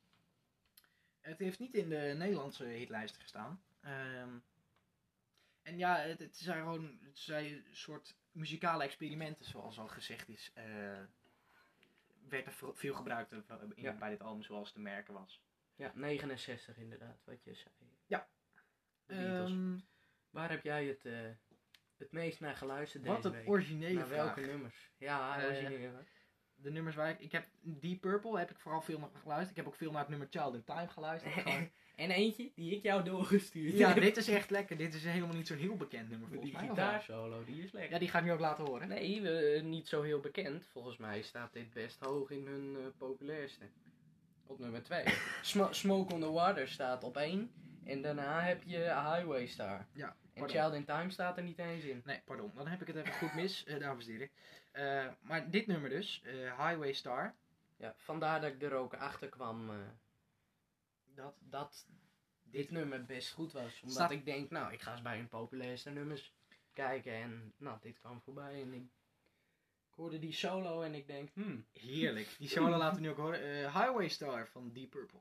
[SPEAKER 1] Het heeft niet in de Nederlandse hitlijsten gestaan. Ehm, en ja, het, het zijn gewoon het zijn soort muzikale experimenten, zoals al gezegd is. eh, werd er veel- veel gebruikt in-
[SPEAKER 2] Ja.
[SPEAKER 1] bij dit album, zoals te merken was.
[SPEAKER 2] Ja, 69 inderdaad, wat je zei.
[SPEAKER 1] Ja.
[SPEAKER 2] De Beatles.
[SPEAKER 1] Ehm,
[SPEAKER 2] Waar heb jij het, eh, het meest naar geluisterd
[SPEAKER 1] wat
[SPEAKER 2] deze
[SPEAKER 1] een
[SPEAKER 2] week?
[SPEAKER 1] originele
[SPEAKER 2] naar
[SPEAKER 1] vraag.
[SPEAKER 2] welke nummers? Ja,
[SPEAKER 1] Eh,
[SPEAKER 2] origineel. hè?
[SPEAKER 1] De nummers waar ik... Ik heb Deep Purple, heb ik vooral veel naar geluisterd. Ik heb ook veel naar het nummer Child in Time geluisterd. Gewoon-
[SPEAKER 2] en eentje die ik jou doorgestuurd
[SPEAKER 1] ja,
[SPEAKER 2] heb.
[SPEAKER 1] dit is echt lekker. Dit is helemaal niet zo'n heel bekend nummer
[SPEAKER 2] Met
[SPEAKER 1] volgens
[SPEAKER 2] Die
[SPEAKER 1] mij. of
[SPEAKER 2] gitaarsolo, die
[SPEAKER 1] wel?
[SPEAKER 2] is lekker.
[SPEAKER 1] Ja, die ga ik nu ook laten horen.
[SPEAKER 2] Nee, we- eh, niet zo heel bekend. Volgens mij staat dit best hoog in hun eh, populairste. Op nummer 2. Smoke on the Water staat op 1. En daarna heb je Highway Star.
[SPEAKER 1] Ja,
[SPEAKER 2] En
[SPEAKER 1] pardon.
[SPEAKER 2] Child in Time staat er niet eens in.
[SPEAKER 1] Nee, pardon. Dan heb ik het even goed mis, eh, dames en heren. Eh, maar dit nummer dus, eh, Highway Star.
[SPEAKER 2] Ja, vandaar dat ik er ook achter kwam eh,
[SPEAKER 1] Dat
[SPEAKER 2] dat dit nummer best goed was. Omdat
[SPEAKER 1] Staat-
[SPEAKER 2] ik denk, nou, ik ga eens bij hun populairste nummers kijken. En nou, dit kwam voorbij. En ik, ik hoorde die solo en ik denk, hmm,
[SPEAKER 1] Heerlijk. Die solo laten we nu ook horen. Eh, Highway Star van Deep Purple.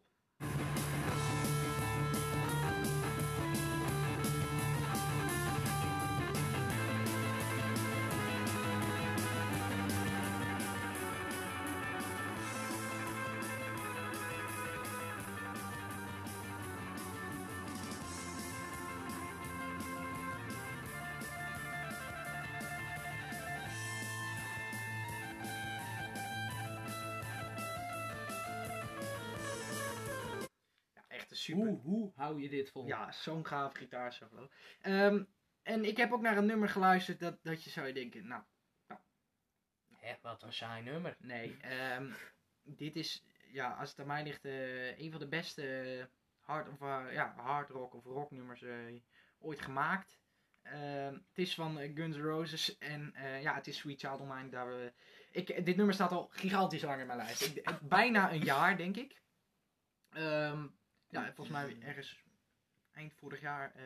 [SPEAKER 1] Ja, echt een super.
[SPEAKER 2] hoe, hoe hou je dit vol?
[SPEAKER 1] Ja, zo'n gaaf gitaarsolo. Ehm, en ik heb ook naar een nummer geluisterd dat, dat je zou denken, nou,
[SPEAKER 2] Hè, wat een saai nummer.
[SPEAKER 1] nee. ehm, dit is, ja, als het aan mij ligt, eh, een van de beste hard, of, eh, ja, hard rock of rocknummers eh, ooit gemaakt. Ehm, het is van eh, Guns N' Roses en eh, ja, het is Sweet Child Online. Daar, we- ik, dit nummer staat al gigantisch lang in mijn lijst. Ik, eh, bijna een jaar, denk ik. Ehm, ja, volgens mij ergens eind vorig jaar eh,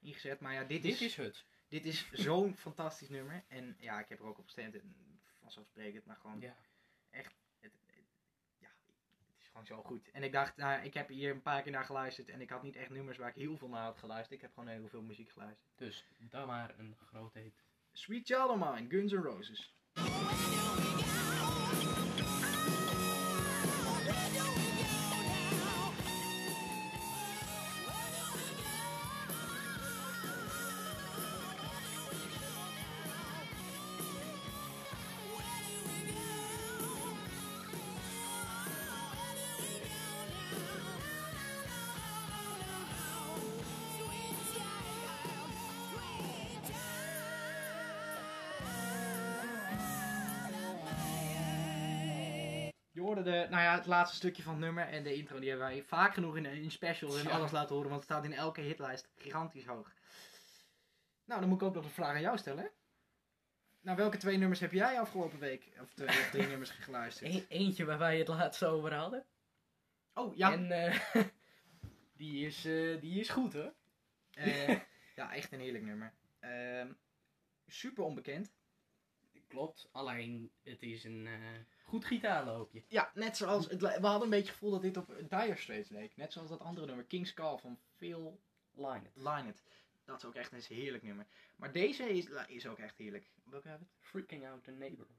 [SPEAKER 1] ingezet. Maar ja, dit,
[SPEAKER 2] Dit is het.
[SPEAKER 1] dit is zo'n fantastisch nummer. En ja, ik heb er ook op gestemd. En vanzelfsprekend, maar gewoon,
[SPEAKER 2] Ja.
[SPEAKER 1] het, het- ja, het is gewoon zo goed. En ik dacht, nou, ik heb hier een paar keer naar geluisterd. En ik had niet echt nummers waar ik heel veel naar had geluisterd. Ik heb gewoon heel veel muziek geluisterd.
[SPEAKER 2] Dus dan maar een groot hit.
[SPEAKER 1] Sweet Child of Mine, Guns N' Roses. Je hoorde de, nou ja, het laatste stukje van het nummer en de intro. Die hebben wij vaak genoeg in, in specials en
[SPEAKER 2] Ja.
[SPEAKER 1] alles laten horen. Want het staat in elke hitlijst gigantisch hoog. Nou, dan moet ik ook nog een vraag aan jou stellen. hè? Nou, welke twee nummers heb jij afgelopen week, of twee of drie nummers geluisterd?
[SPEAKER 2] E- eentje waar wij het laatst over hadden.
[SPEAKER 1] Oh, ja.
[SPEAKER 2] En eh, die, is, eh, die is goed hoor.
[SPEAKER 1] Eh, ja, echt een heerlijk nummer. Ehm, super onbekend.
[SPEAKER 2] Klopt, alleen het is een eh, Goed gitaarloopje.
[SPEAKER 1] Ja, net zoals... Het, li- we hadden een beetje het gevoel dat dit op Dire Straits leek. Net zoals dat andere nummer, King's Call van Phil
[SPEAKER 2] Line it.
[SPEAKER 1] Lynott. Dat is ook echt een heerlijk nummer. Maar deze is, is ook echt heerlijk. Welke hebben we?
[SPEAKER 2] Freaking out the neighborhood.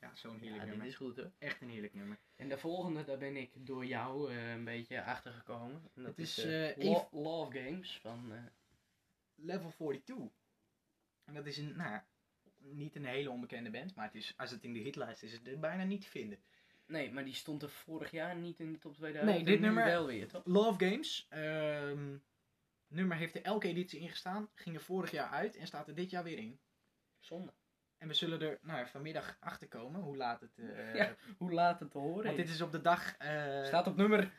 [SPEAKER 1] Ja, zo'n heerlijk
[SPEAKER 2] Ja, dit
[SPEAKER 1] nummer.
[SPEAKER 2] is goed hoor.
[SPEAKER 1] Echt een heerlijk nummer.
[SPEAKER 2] En de volgende, daar ben ik door jou eh, een beetje achtergekomen. En dat
[SPEAKER 1] Het is,
[SPEAKER 2] is eh,
[SPEAKER 1] eh,
[SPEAKER 2] Lo-
[SPEAKER 1] Eve-
[SPEAKER 2] Love Games van eh,
[SPEAKER 1] Level 42. En dat is een, nou, ja, niet een hele onbekende band, maar het is, als het in de hitlijst is, is het bijna niet te vinden.
[SPEAKER 2] Nee, maar die stond er vorig jaar niet in de top 2000.
[SPEAKER 1] Nee, dit
[SPEAKER 2] En nu
[SPEAKER 1] nummer-
[SPEAKER 2] wel weer, toch?
[SPEAKER 1] Love Games. ehm, nummer heeft er elke editie in gestaan, ging er vorig jaar uit en staat er dit jaar weer in.
[SPEAKER 2] Zonde.
[SPEAKER 1] En we zullen er nou, ja, vanmiddag achter komen hoe laat het. eh
[SPEAKER 2] Ja, Hoe laat het te horen
[SPEAKER 1] Want
[SPEAKER 2] is.
[SPEAKER 1] dit is op de dag. eh,
[SPEAKER 2] Staat op nummer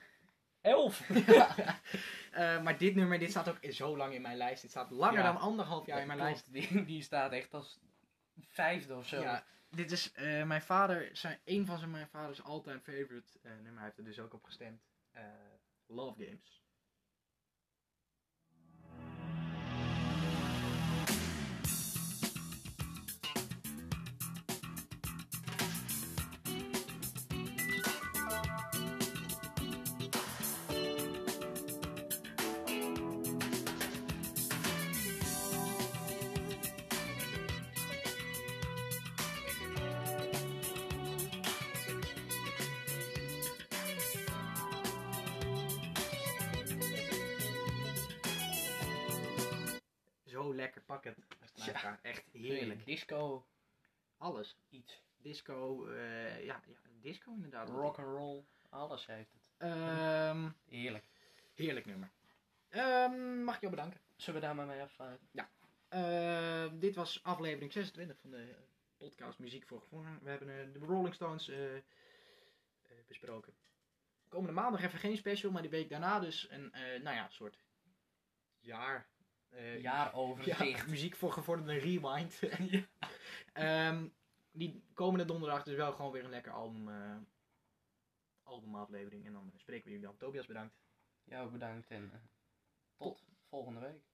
[SPEAKER 2] 11.
[SPEAKER 1] Eh, maar dit nummer, dit staat ook zo lang in mijn lijst. Dit staat langer
[SPEAKER 2] Ja.
[SPEAKER 1] dan anderhalf jaar in mijn lijst.
[SPEAKER 2] Die, die staat echt als vijfde of zo.
[SPEAKER 1] Ja, dit is eh, mijn vader, zijn, een van zijn, mijn vaders all-time favorite eh, nummer. Hij heeft er dus ook op gestemd. Eh, Love Games. Zo lekker pakket.
[SPEAKER 2] Ja.
[SPEAKER 1] Echt
[SPEAKER 2] Heerlijk.
[SPEAKER 1] heerlijk.
[SPEAKER 2] Disco,
[SPEAKER 1] Alles.
[SPEAKER 2] iets.
[SPEAKER 1] Disco, eh, ja, ja, disco inderdaad.
[SPEAKER 2] Rock and roll, alles heeft het.
[SPEAKER 1] Ehm,
[SPEAKER 2] Heerlijk.
[SPEAKER 1] heerlijk nummer. Ehm, mag ik jou bedanken.
[SPEAKER 2] Zullen we daar maar mee afsluiten?
[SPEAKER 1] Eh, dit was aflevering 26 van de podcast Muziek voor Gevonden. We hebben eh, de Rolling Stones eh, eh, besproken. Komende maandag even geen special, maar die week daarna dus een eh, nou ja, soort jaar. eh,
[SPEAKER 2] Jaaroverzicht.
[SPEAKER 1] ja, muziek voor gevorderde rewind. Ehm, die komende donderdag dus wel gewoon weer een lekker album, eh, albumaflevering. En dan spreken we jullie dan. Tobias, bedankt.
[SPEAKER 2] Jou bedankt en eh, tot volgende week.